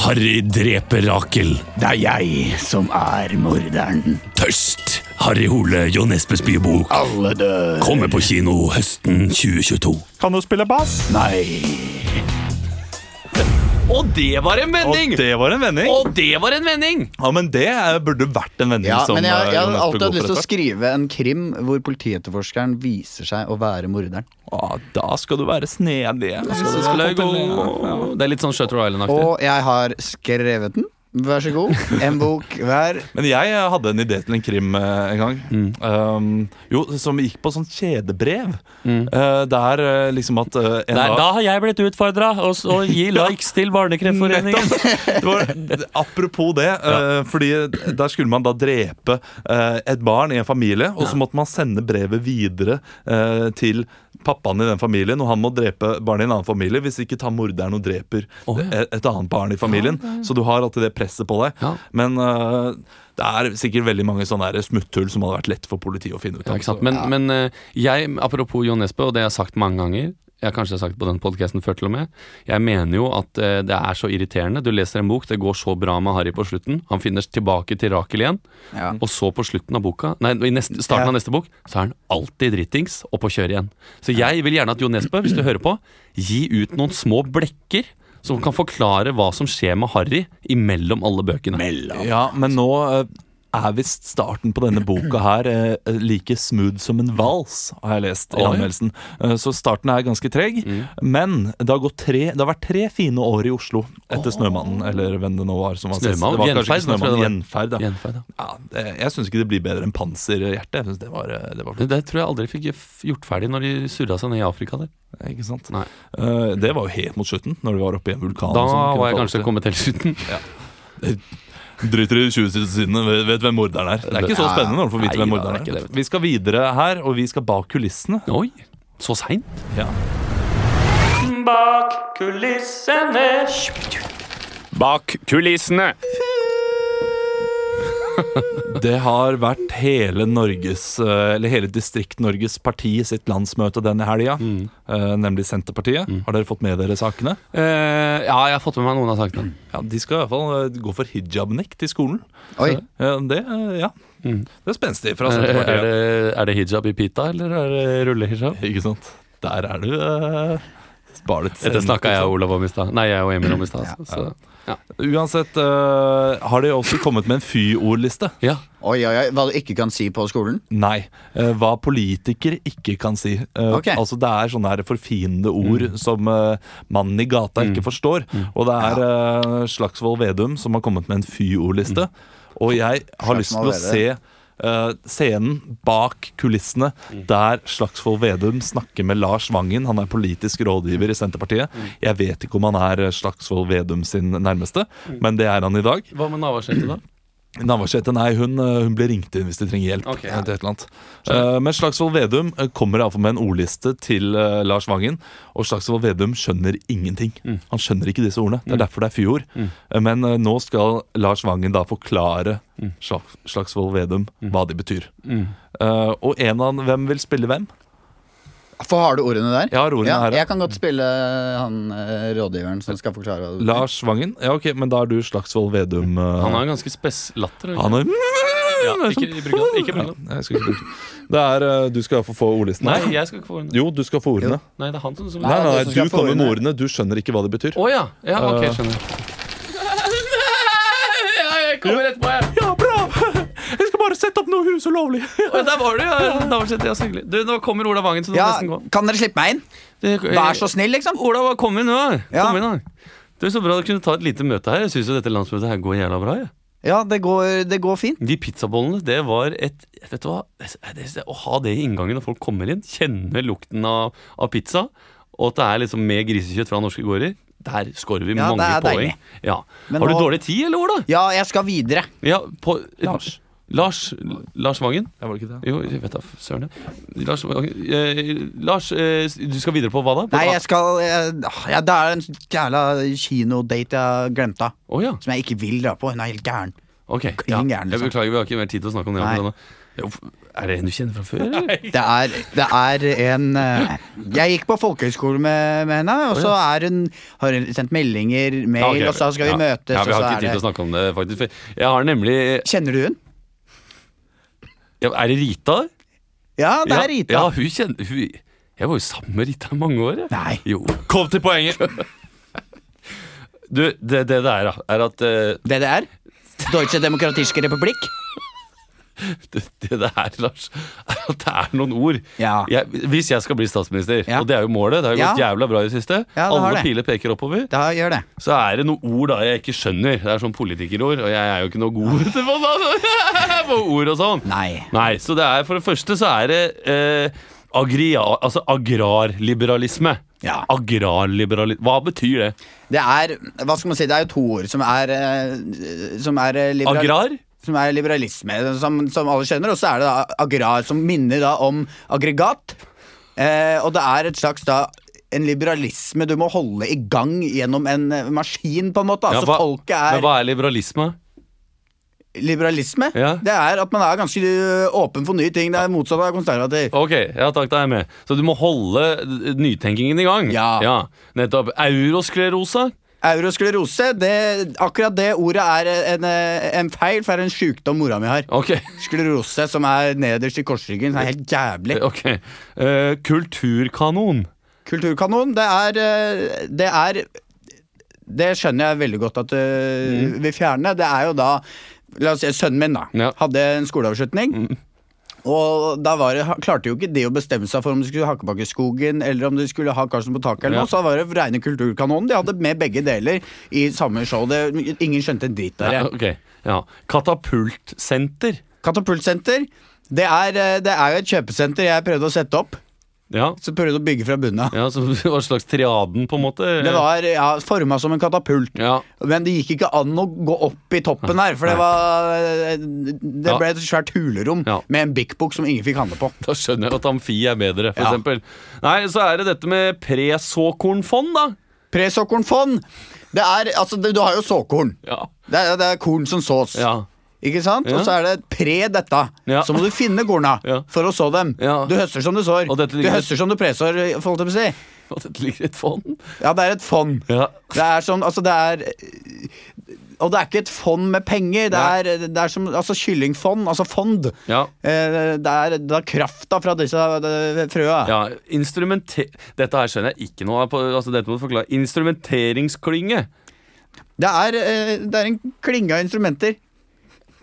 E: Harry dreper Rakel.
D: Det er jeg som er morderen.
E: Tørst. Harry Hole, Jo Nesbøs bybok.
D: Alle dør.
E: Kommer på kino høsten 2022.
A: Kan du spille bass?
D: Nei.
B: Og det var en vending!
A: Og det var en vending.
B: Og det var en vending!
A: Ja, men det eh, burde vært en vending
D: Ja,
A: som
D: men jeg,
A: eh,
D: jeg har
A: Jonas bør
D: alltid
A: gå
D: hatt lyst
A: for
D: til å
A: etter.
D: skrive en krim hvor politietterforskeren viser seg å være morderen.
A: Ah, Da skal du være snedig.
B: Det er litt sånn Shutter Island-aktig.
D: Og jeg har skrevet den. Vær så god. En bok hver.
A: Men jeg eh, hadde en idé til en krim eh, en gang.
B: Mm.
A: Um, jo, som gikk på sånn kjedebrev.
B: Mm.
A: Eh, der eh, liksom at eh, en
H: Nei,
A: dag-
H: da har jeg blitt utfordra og, s- og gi likes til Barnekreftforeningen.
A: Det var, apropos det, eh, fordi der skulle man da drepe eh, et barn i en familie, og så måtte man sende brevet videre eh, til pappaen i den familien, og han må drepe barnet i en annen familie, hvis ikke tar morderen og dreper et, et annet barn i familien. Så du har alltid det presset på deg.
B: Ja.
A: Men eh, det er sikkert veldig mange sånne der smutthull som hadde vært lett for politiet å finne ut
B: Ja,
A: av.
B: ikke sant? Men, men eh, jeg, apropos Jon Nesbø, og det jeg har sagt mange ganger Jeg har kanskje sagt på den podcasten før til og med. Jeg mener jo at eh, det er så irriterende. Du leser en bok, det går så bra med Harry på slutten. Han finner tilbake til Rakel igjen.
D: Ja.
B: Og så på slutten av boka Nei, i neste, starten av neste bok, så er han alltid drittings og på kjøret igjen. Så jeg vil gjerne at Jo Nesbø, hvis du hører på, gi ut noen små blekker som kan forklare hva som skjer med Harry imellom alle bøkene.
A: Ja, men nå eh, er visst starten på denne boka her eh, like smooth som en vals, har jeg lest i
B: Oi. Mm.
A: anmeldelsen. Eh, Så starten er ganske treg. Men det har, gått tre, det har vært tre fine år i Oslo etter 'Snømannen', eller hvem det nå var. Som var sist.
B: Snømann?
A: Det var kanskje ikke
B: Gjenferd, nå tror jeg
A: 'Snømannen'.
B: det
A: Gjenferd, ja.
B: Gjenferd, ja.
A: ja det- jeg syns ikke det blir bedre enn 'Panserhjerte'. Jeg synes det var, eh, det var
B: Det, det tror jeg aldri fikk f- gjort ferdig når de surra seg ned i Afrika der.
A: Ikke sant?
B: Nei.
A: Eh, Det var jo helt mot slutten, når de var oppe i en vulkan.
B: Da
A: og sånn, kunne
B: var jeg
A: få
B: kanskje
A: alt til.
B: kommet helt slutten.
A: Driter i 20-sidene, vet, vet hvem morderen er. Det er ikke så spennende når du får vite
B: Nei,
A: hvem
B: da,
A: morderen
B: det er
A: er.
B: ikke det.
A: Vi skal videre her, og vi skal bak kulissene.
B: Oi, så seint?
A: Ja.
H: Bak kulissene
B: Bak kulissene!
A: Det har vært hele Norges, eh, eller hele Distrikt-Norges parti sitt landsmøte denne helga,
B: Mm.
A: eh, nemlig Senterpartiet. Har dere fått med dere sakene?
B: Eh, ja, jeg har fått med meg noen av sakene.
A: Ja, De skal i hvert fall eh, gå for hijabnekt i skolen.
D: Oi.
A: Eh, Det, eh, ja. det er spenstig fra
B: Er, Mm. er,
A: Senterpartiet.
B: det, er det hijab i pita, eller er det Eh, rullehijab?
A: Ikke sant? Der er du eh, sparet.
B: Dette snakka jeg og Olav om i stad. Nei, jeg og Emil om i stad. altså. Så,
A: Uansett eh, har de også kommet med en fy-ordliste.
B: ja.
D: Oi, oi, oi. Hva du ikke kan si på skolen?
A: Nei. eh, hva politikere ikke kan si. Eh,
D: Ok. Mm.
A: Altså Det er sånne her forfinede ord som eh, mannen i gata ikke forstår. Og det er eh, Slagsvold Vedum som har kommet med en fy-ordliste. Og jeg har lyst til å se
D: Mm. Vedum.
A: eh, scenen bak kulissene
D: Mm.
A: der Slagsvold Vedum snakker med Lars Vangen. Han er politisk rådgiver i
D: Mm.
A: Senterpartiet. Jeg vet ikke om han er eh, Slagsvold Vedum sin nærmeste,
D: Mm.
A: men det er han i dag.
B: Hva med Navarsete, da?
A: Navarsete, nei, hun, eh, hun blir ringt inn hvis de trenger hjelp.
B: Ok, ja.
A: eller et eller annet. Eh, men Slagsvold Vedum eh, kommer i hvert fall med en ordliste til eh, Lars Vangen. Og Slagsvold Vedum skjønner ingenting.
B: Mm.
A: Han skjønner ikke disse ordene. Det er derfor det er fyord. Eh, men eh, nå skal Lars Vangen da forklare
B: Mm.
A: Sla- Slagsvold Vedum hva de betyr. Eh, og en av hvem vil spille hvem?
D: For har du ordene der?
A: Jeg har ordene her. ja.
D: jeg kan godt spille han eh, rådgiveren som skal forklare hva du
A: Lars Vangen? Ja, ok, men da er du Slagsvold Vedum. eh,
B: Han har en ganske spes latter.
A: han er
B: Ja, ikke ikke bruk den. Ikke bruk den.
A: Nei, jeg skal ikke bruke den. Det er eh, Du skal få få ordlisten.
B: Nei, jeg skal ikke få den.
A: Jo, du skal få ordene.
B: Nei, det er han som som-
A: Nei,
D: Nei,
A: nei,
D: det som
A: nei,
D: skal
A: du
D: få
A: kommer med
D: ordene.
A: ordene. Du skjønner ikke hva det betyr. Eh.
B: Å ja. ja! Ok, skjønner. Ja, jeg kommer rett på, jeg.
A: Ja, bra! Jeg skal bare sette opp noe hus ulovlig.
B: Å, Der var du, ja. Navarsete. Ja, så hyggelig. Du, nå kommer Olav Vangen, så du
D: Ja,
B: må nesten gå.
D: kan dere slippe meg inn?
B: Det-
D: Vær så snill, liksom.
B: Olav, kom inn, da.
D: Ja.
B: Kom inn, da. Du, Så bra du kunne ta et lite møte her. Jeg syns jo dette landsmøtet her går jævla bra. Jeg.
D: Ja, det går, det går fint.
B: De pizzabollene, det var et Vet du hva? Det, det, å ha det i inngangen når folk kommer inn, kjenne lukten av, av pizza, og at det er liksom med grisekjøtt fra norske gårder, der scorer vi
D: Ja,
B: mange
D: det er
B: poeng.
D: deilig.
B: Ja.
D: Men
B: Har du
D: nå-
B: dårlig tid, eller, Ola?
D: Ja, jeg skal videre.
B: Ja, på,
A: Lars.
B: Lars Lars Vangen?
A: Jeg var det ikke det.
B: Jo, jeg vet da, søren. ja. Lars, Vangen, eh, Lars eh, du skal videre på hva da? På-
D: Nei, jeg skal jeg, ah, ja, Det er en jævla kinodate jeg glemte av.
B: Å ja.
D: Som jeg ikke vil dra på. Hun er helt gæren.
B: Ok. Ja.
D: Klin gæren, liksom.
B: Jeg beklager, vi har ikke mer tid til å snakke om det.
D: Nei.
B: akkurat nå. Jo, Er det en du kjenner fra før? Eller?
D: Det er, det er en eh, Jeg gikk på folkehøyskole med, med henne, og så er hun, har hun sendt meldinger, mail,
B: Ja, ok.
D: og så skal vi
B: Ja.
D: møtes,
B: Ja, vi har
D: og så
B: ikke tid til
D: er
B: å
D: det
B: snakke om det, faktisk. for Jeg har nemlig
D: Kjenner du hun?
B: ja, Er det Rita?
D: Ja, det er Rita.
B: Ja, ja hun kjenner hun, Jeg var jo sammen med Rita i mange år. jeg.
D: Nei.
B: Jo.
A: Kom til poenget!
B: Du, det det der da, er at eh,
D: DDR? Deutsche Demokratiske Republikk?
B: det, det det er, Lars, er at det er noen ord.
D: Ja.
B: Jeg, hvis jeg skal bli statsminister,
D: Ja.
B: og det er jo målet, det har jo gått
D: Ja.
B: jævla bra i det siste,
D: Ja, det har
B: alle
D: det.
B: piler peker oppover,
D: Da gjør det.
B: så er det noen ord da jeg ikke skjønner. Det er sånn politikerord, og jeg er jo ikke noe god til å få- på ord og sånn.
D: Nei.
B: Nei, så det er for det første så er det eh, agria, altså agrarliberalisme.
D: Ja.
B: Agrarliberalisme. Hva betyr det?
D: Det er hva skal man si, det er jo to ord som er, eh, som er, eh, liberal-
B: Agrar?
D: som er liberalisme, som, som alle skjønner. Og så er det da agrar, som minner da om aggregat. Eh, og det er et slags da en liberalisme du må holde i gang gjennom en eh, maskin, på en måte.
B: Ja,
D: Altså
B: hva-
D: folket
B: Men
D: er
B: hva er liberalisme?
D: liberalisme.
B: Ja.
D: Det er at man er ganske ø, åpen for nye ting. Det er motsatt av konservativ.
B: Ok, ja takk, da er jeg med. Så du må holde eh, nytenkingen i gang?
D: Ja.
B: Nettopp. Eurosklerosa?
D: Eurosklerose, det, akkurat det ordet er en, ø, en feil, for det er en sjukdom mora mi har.
B: Ok.
D: Sklerose, som er nederst i korsryggen. Det er helt jævlig.
B: ok. Eh, kulturkanon.
D: Kulturkanon, det er eh, Det er Det skjønner jeg veldig godt at du vil fjerne. Det er jo da La oss si sønnen min, da.
B: Mm. Ja. Mm.
D: Hadde en skoleavslutning. Og da var det, klarte jo ikke de å bestemme seg for om de skulle ha Hakkebakkeskogen eller om de skulle ha Karlsen på taket. eller
B: Ja.
D: noe, Så da var det reine Kulturkanonen. De hadde med begge deler i samme show. Det, ingen skjønte en drit der.
B: Nei,
D: jeg.
B: ok, ja. Katapultsenter.
D: Katapultsenter. Det er, eh, det er jo et kjøpesenter jeg prøvde å sette opp.
B: Ja.
D: Så prøvde å bygge fra bunnen av.
B: ja, så Hva slags triaden, på en måte?
D: Det var ja, forma som en katapult.
B: Ja,
D: Men det gikk ikke an å gå opp i toppen her, for det var eh, Det
B: Ja.
D: ble et svært hulerom
B: Ja.
D: med en Big Book som ingen fikk handle på.
B: Da skjønner jeg at amfi er bedre, for
D: Ja.
B: eksempel. Nei, så er det dette med presåkornfond, da.
D: Presåkornfond! Det er Altså, det, du har jo såkorn.
B: Ja.
D: Det er, det er korn som sås.
B: Ja.
D: Ikke sant?
B: Ja.
D: Og så er det et pre dette.
B: Ja.
D: Så må du finne korna
B: Ja.
D: for å så dem.
B: Ja.
D: Du høster som du sår.
B: Og dette
D: Du
B: ligger-
D: høster som du presår, holdt jeg på å si.
B: Og dette ligger et fond.
D: Ja, det er et fond.
B: Ja.
D: Det er sånn, altså det er Og det er ikke et fond med penger. Det
B: Nei.
D: er, det er som altså kyllingfond, altså fond.
B: Ja.
D: Eh, Det er, det er krafta fra disse eh, frøa.
B: Ja, instrumenter... Dette her skjønner jeg ikke noe av. på- Altså, dette må du forklare. Instrumenteringsklynge.
D: Det, er, eh, det er en klinge av instrumenter.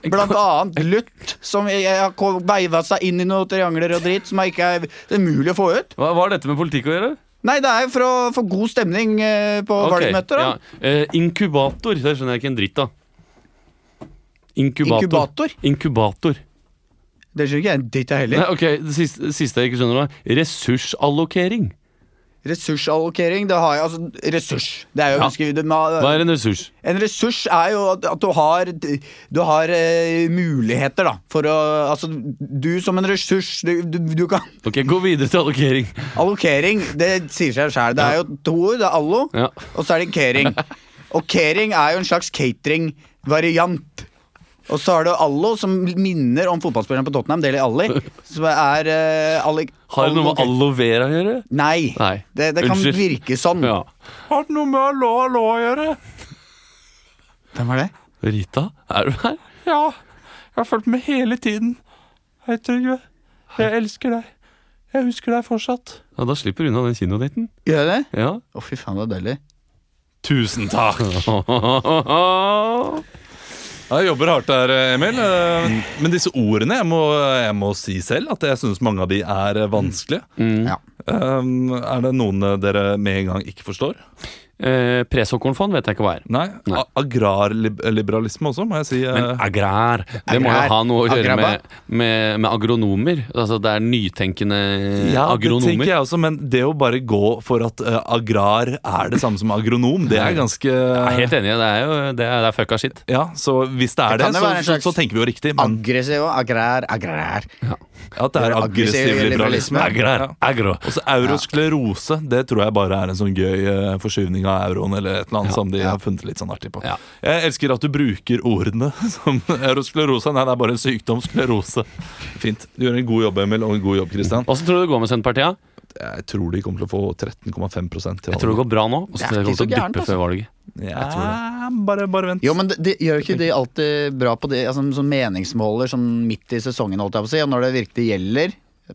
D: Blant annet lutt, som jeg- jeg har ko- veiva seg inn i noen triangler og dritt som jeg ikke er, det er mulig å få ut.
B: Hva, hva har dette med politikk å gjøre?
D: Nei, det er for å få god stemning eh, på
B: Ok,
D: valgmøter. Da.
B: ja. Eh, inkubator. Det skjønner jeg ikke en dritt av. Inkubator.
D: Inkubator?
B: Inkubator.
D: Det skjønner ikke jeg en dritt av heller.
B: Nei, ok, det siste, det siste jeg ikke skjønner, var ressursallokering.
D: Ressursallokering, det har jeg altså Ressurs. Det er jo ganske det ma-
B: Hva er en ressurs?
D: En ressurs er jo at at du har, du har eh, muligheter, da. For å Altså, du som en ressurs, du, du, du kan
B: Ok, Gå videre til allokering.
D: Allokering, det sier seg sjæl. Det er jo to ord. Det er allo,
B: Ja.
D: og så er det kering. Og kering er jo en slags catering-variant. Og så har du allo, som minner om fotballspilleren på Tottenham, Deli Alli. Som er eh, alli-
B: Har det noe med
D: allokering.
B: aloe vera å gjøre?
D: Nei.
B: Nei,
D: Det, det kan
B: unnskyld.
D: virke sånn.
B: Ja. Har det noe med aloe aloe å gjøre?
D: Hvem er det?
B: Rita, er du her?
G: Ja, jeg har fulgt med hele tiden. Hei, Trygve. Jeg elsker deg. Jeg husker deg fortsatt.
B: Ja, Da slipper du unna den kinodaten.
D: Gjør jeg det?
B: Ja.
D: Å, fy faen, det var deilig.
A: Tusen takk! Ja, Jeg jobber hardt der, Emil. Eh, Men disse ordene jeg må, jeg må si selv at jeg syns mange av de er eh, vanskelige.
B: Mm.
D: Ja.
A: Um, er det noen eh, dere med en gang ikke forstår?
B: Eh, Presåkornfond vet jeg ikke hva er.
A: Nei.
B: Nei.
A: A- Agrarliberalisme også, må jeg si. eh.
B: Men agrar, det må jo ha noe å gjøre
D: Agrabba.
B: med, med, med agronomer. Altså det er nytenkende
A: ja, det
B: agronomer.
A: tenker jeg også, men det å bare gå for at eh, agrar er det samme som agronom, det er ganske
B: Jeg er helt enig, det er jo det er, det er fucka shit.
A: Ja, Så hvis det er det,
D: Det kan jo
A: så,
D: være en
A: så,
D: slags
A: så tenker vi jo riktig. Men
D: Aggressiv og agrær, agrær.
A: at det er aggressiv
D: aggressiv
A: liberalisme.
B: Agrar,
A: Ja.
B: agro.
A: Og så eurosklerose, det tror jeg bare er en sånn gøy eh, forskyvning av euroen eller et eller annet som de har funnet litt sånn artig på.
B: Ja.
A: Jeg elsker at du bruker ordene som eurosklerose. Nei, det er bare en sykdom, sklerose. Fint. Du gjør en god jobb, Emil, og en god jobb, Kristian.
B: Åssen tror du det går med Senterpartiet?
A: Jeg tror de kommer til å få 13,5 til
B: Jeg tror det går bra nå.
D: Det
B: Åssen
D: er
B: tror du det kommer til
D: ikke så
B: å
D: gærent, altså.
B: duppe før valget?
A: Jeg tror det. Ah, Bare, bare vent.
D: Jo, men de, de, gjør ikke de alltid bra på det, altså, som meningsmåler sånn midt i sesongen, holdt jeg på å si, og når det virkelig gjelder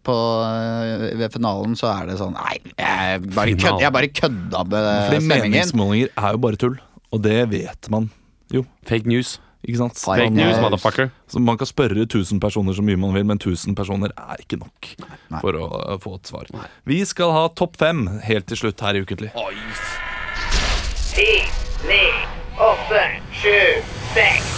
D: på, øh, ved finalen, så er det sånn Nei, jeg bare, kødd,
B: Finalen.
D: jeg bare kødda med
A: Fordi
D: eh, stemningen.
A: meningsmålinger er jo bare tull, og det vet man jo.
B: Fake news.
A: Ikke sant? Så
D: Fake
B: Fake
A: man- eh,
B: news,
D: news.
B: motherfucker.
A: Så man kan spørre 1000 personer så mye man vil, men 1000 personer er ikke nok for å uh, få et svar. Vi skal ha topp fem helt til slutt her i Ukentlig.
I: Ti, ni, åtte, sju, seks.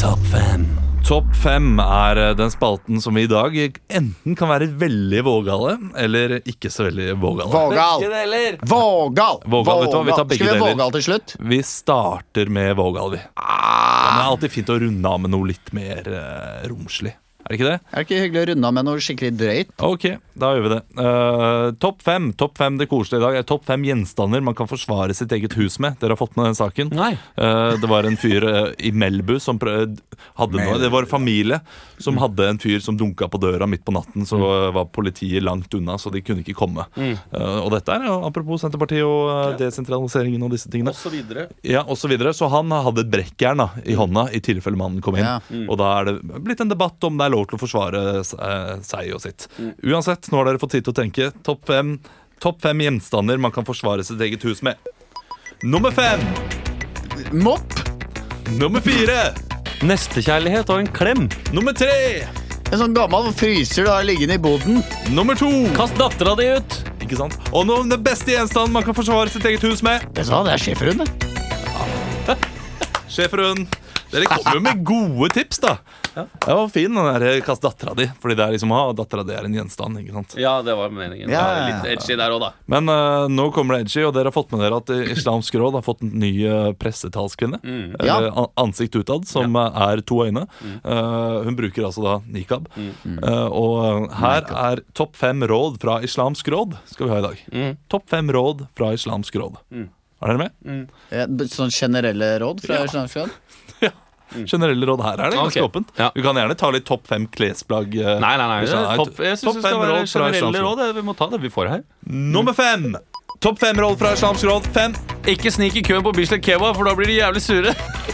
A: Topp fem er uh, den spalten som vi i dag enten kan være veldig vågale eller ikke så veldig vågale.
D: Vågal! Vågal!
A: Vågal, vet du hva, vi tar begge
D: Skal vi ha
A: deler.
D: vågal til slutt?
A: Vi
D: Ah.
A: starter med vågal, vi. Ja, men det er alltid fint å runde av med noe litt mer uh, romslig. Er det ikke det?
D: Er det ikke hyggelig å runde av med noe skikkelig drøyt?
A: Ok, da gjør vi det. Eh, topp fem. Topp fem det koselige i dag er topp fem gjenstander man kan forsvare sitt eget hus med. Dere har fått med den saken.
B: Nei.
A: Eh, det var en fyr eh, i Melbu som prøv- hadde noe. Det var en familie som hadde en fyr som dunka på døra midt på natten. Så eh, var politiet langt unna, så de kunne ikke komme. Eh, og dette er jo apropos Senterpartiet og eh, desentraliseringen og disse tingene.
B: Så videre.
A: Ja, og så, videre. så han hadde et brekkjern da,
B: Mm.
A: i hånda i tilfelle mannen kom inn.
D: Ja.
A: Og da er det blitt en debatt om det er lov til å forsvare eh, seg og sitt. Uansett, nå har dere fått tid til å tenke. Topp fem, topp fem gjenstander man kan forsvare sitt eget hus med. Nummer fem!
D: Mopp!
A: Nummer fire!
B: Nestekjærlighet og en klem.
A: Nummer tre!
D: En sånn gammel fryser du har liggende i boden.
A: Nummer to!
B: Kast dattera di ut!
A: Ikke sant? Og nå den beste gjenstanden man kan forsvare sitt eget hus med.
D: Vet du hva, det er schæferhund. det.
A: Sjefrun. Dere kommer jo med gode tips, da. Det var fin den der eh, 'kast dattera di', fordi det er liksom, ah, dattera di er en gjenstand. ikke sant?
B: Ja, det var meningen. Det
D: Ja,
B: var
D: ja, ja.
B: Litt edgy der òg, da.
A: Men eh, nå kommer det edgy, og dere har fått med dere at eh, Islamsk råd har fått en ny eh, pressetalskvinne.
D: Ja.
A: Eller an- ansikt utad, som eh, er to øyne. Eh, hun bruker altså da nikab. Eh, og her er topp fem råd fra Islamsk råd skal vi ha i dag. Topp fem råd fra Islamsk råd. Er dere med?
D: Ja, b- Sånn generelle råd fra Islamsk Råd?
A: Generelle råd her er det ganske
B: Ok.
A: åpent.
B: Ja.
A: Du kan gjerne ta litt topp fem klesplagg. eh,
B: Nei, nei, nei.
A: hvis
B: det
A: han
B: er
A: er-
B: Topp, jeg syns
A: topp
B: det skal
A: fem
B: være
A: råd fra
B: generelle
A: Islamsk Råd.
B: råd. Vi må ta det vi får her.
A: Nummer fem! Topp fem råd fra Islamsk råd. Fem.
B: Ikke snik i køen på Bislett Kebab, for da blir de jævlig sure.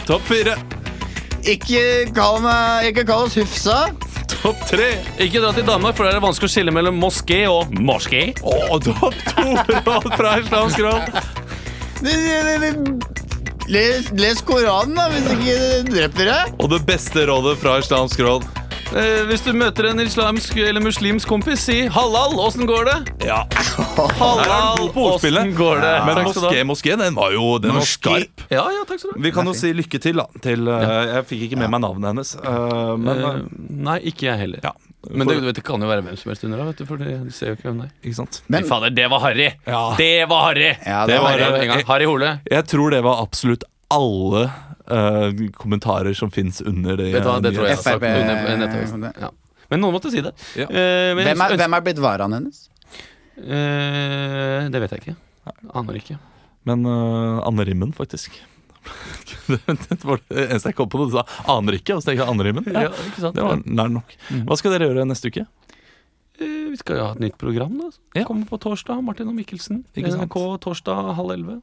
A: Topp fire.
D: Ikke kall, meg, ikke kall oss Hufsa.
A: Topp tre.
B: Ikke dra til Danmark, for der er det vanskelig å skille mellom moské og moské.
A: Og topp to råd fra Islamsk råd.
D: Les, les Koranen, da, hvis ikke du dreper deg.
A: Og det beste rådet fra Islamsk råd.
B: Eh, hvis du møter en islamsk eller muslimsk kompis, si sånn. 'hallal, åssen går det?'
A: Ja, Der er du
B: Hallal,
A: god på ordspillet.
B: åssen går det?
A: Men
B: Takk skal du ha.
A: moské, moské, den var jo den var skarp.
B: Ja, ja, takk skal du ha.
A: Vi kan jo si lykke til, da. Til, eh, jeg fikk ikke med meg navnet hennes. eh, men
B: Eh, nei, ikke jeg heller.
A: eh, ja.
B: Men det, du vet, det kan jo være hvem som helst under deg, vet du, for det- du ser jo ikke hvem det er.
A: Ikke sant?
D: Men-
B: Fy Fader, det var harry!
A: Ja.
B: Det var harry!
D: Ja,
A: det var-
B: Harry,
A: det.
B: en gang. harry Hole.
A: Jeg tror det var absolutt alle eh, kommentarer som fins under det. altså.
B: Vet du hva, det tror jeg jeg har sagt
D: FRP
B: under nettavisen. Ja. Men noen måtte si det.
A: Ja.
B: Eh, men jeg
D: Hvem er,
B: ønsker-
D: hvem er blitt varaen hennes?
B: Eh, det vet jeg ikke. Aner ikke.
A: Men eh, Anne Rimmen, faktisk. det var det eneste jeg kom på. Du sa 'aner ikke', og så tenkte jeg Anne Rimmen. Ja,
B: ikke sant?
A: det var nær nok.
B: Mhm.
A: Hva skal dere gjøre neste uke?
B: Eh, vi skal jo ha et nytt program. da
A: Ja.
B: Kommer på torsdag. Martin og Mikkelsen.
A: Ikke sant.
B: NRK torsdag halv elleve.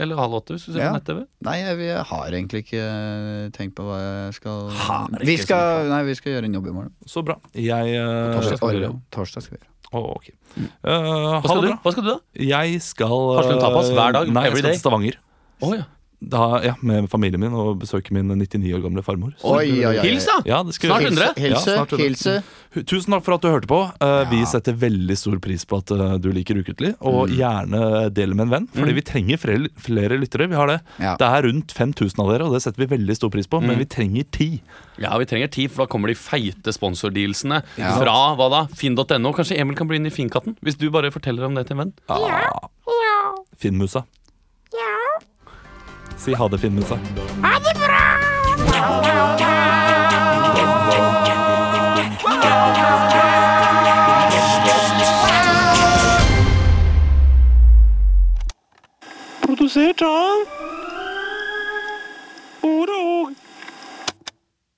B: Eller halv åtte, hvis du ser
D: Ja.
B: på nett-TV.
D: Nei, jeg, vi har egentlig ikke eh, tenkt på hva jeg skal
A: Har ikke
D: vi skal, Nei, vi skal gjøre en jobb i morgen.
A: Så bra. Jeg eh,
B: Torsdag skal vi gjøre.
D: Orre- Torsdag skal vi gjøre.
A: Å, ok. Eh,
B: Hva
A: ha
B: skal,
A: det
B: du?
A: bra.
B: Hva skal du, da?
A: Jeg skal eh,
B: Karsten, ta pass hver dag,
A: Nei, jeg
B: every
A: skal
B: day.
A: til Stavanger.
B: Å, ja.
A: Da, ja, med familien min og besøke min 99 år gamle farmor. Så-
D: Oi, oi, oi.
B: Hils, da!
A: Ja, det skal
B: Snart
A: vi-
B: 100.
A: Ja,
D: Hilse,
A: snart 100.
D: hilse.
A: Tusen takk for at du hørte på. Eh, Vi setter veldig stor pris på at eh, du liker Ukentlig. Og gjerne del med en venn, fordi vi trenger flere, flere lyttere. Vi har det.
D: Ja.
A: det er rundt 5000 av dere, og det setter vi veldig stor pris på. Men vi trenger ti.
B: Ja, vi trenger tid, for da kommer de feite sponsordealsene fra hva da? finn.no. Kanskje Emil kan bli inn i Finnkatten? Hvis du bare forteller om det til en venn.
A: Finnmusa. Si ha det, Finnmusa.
G: Produsert av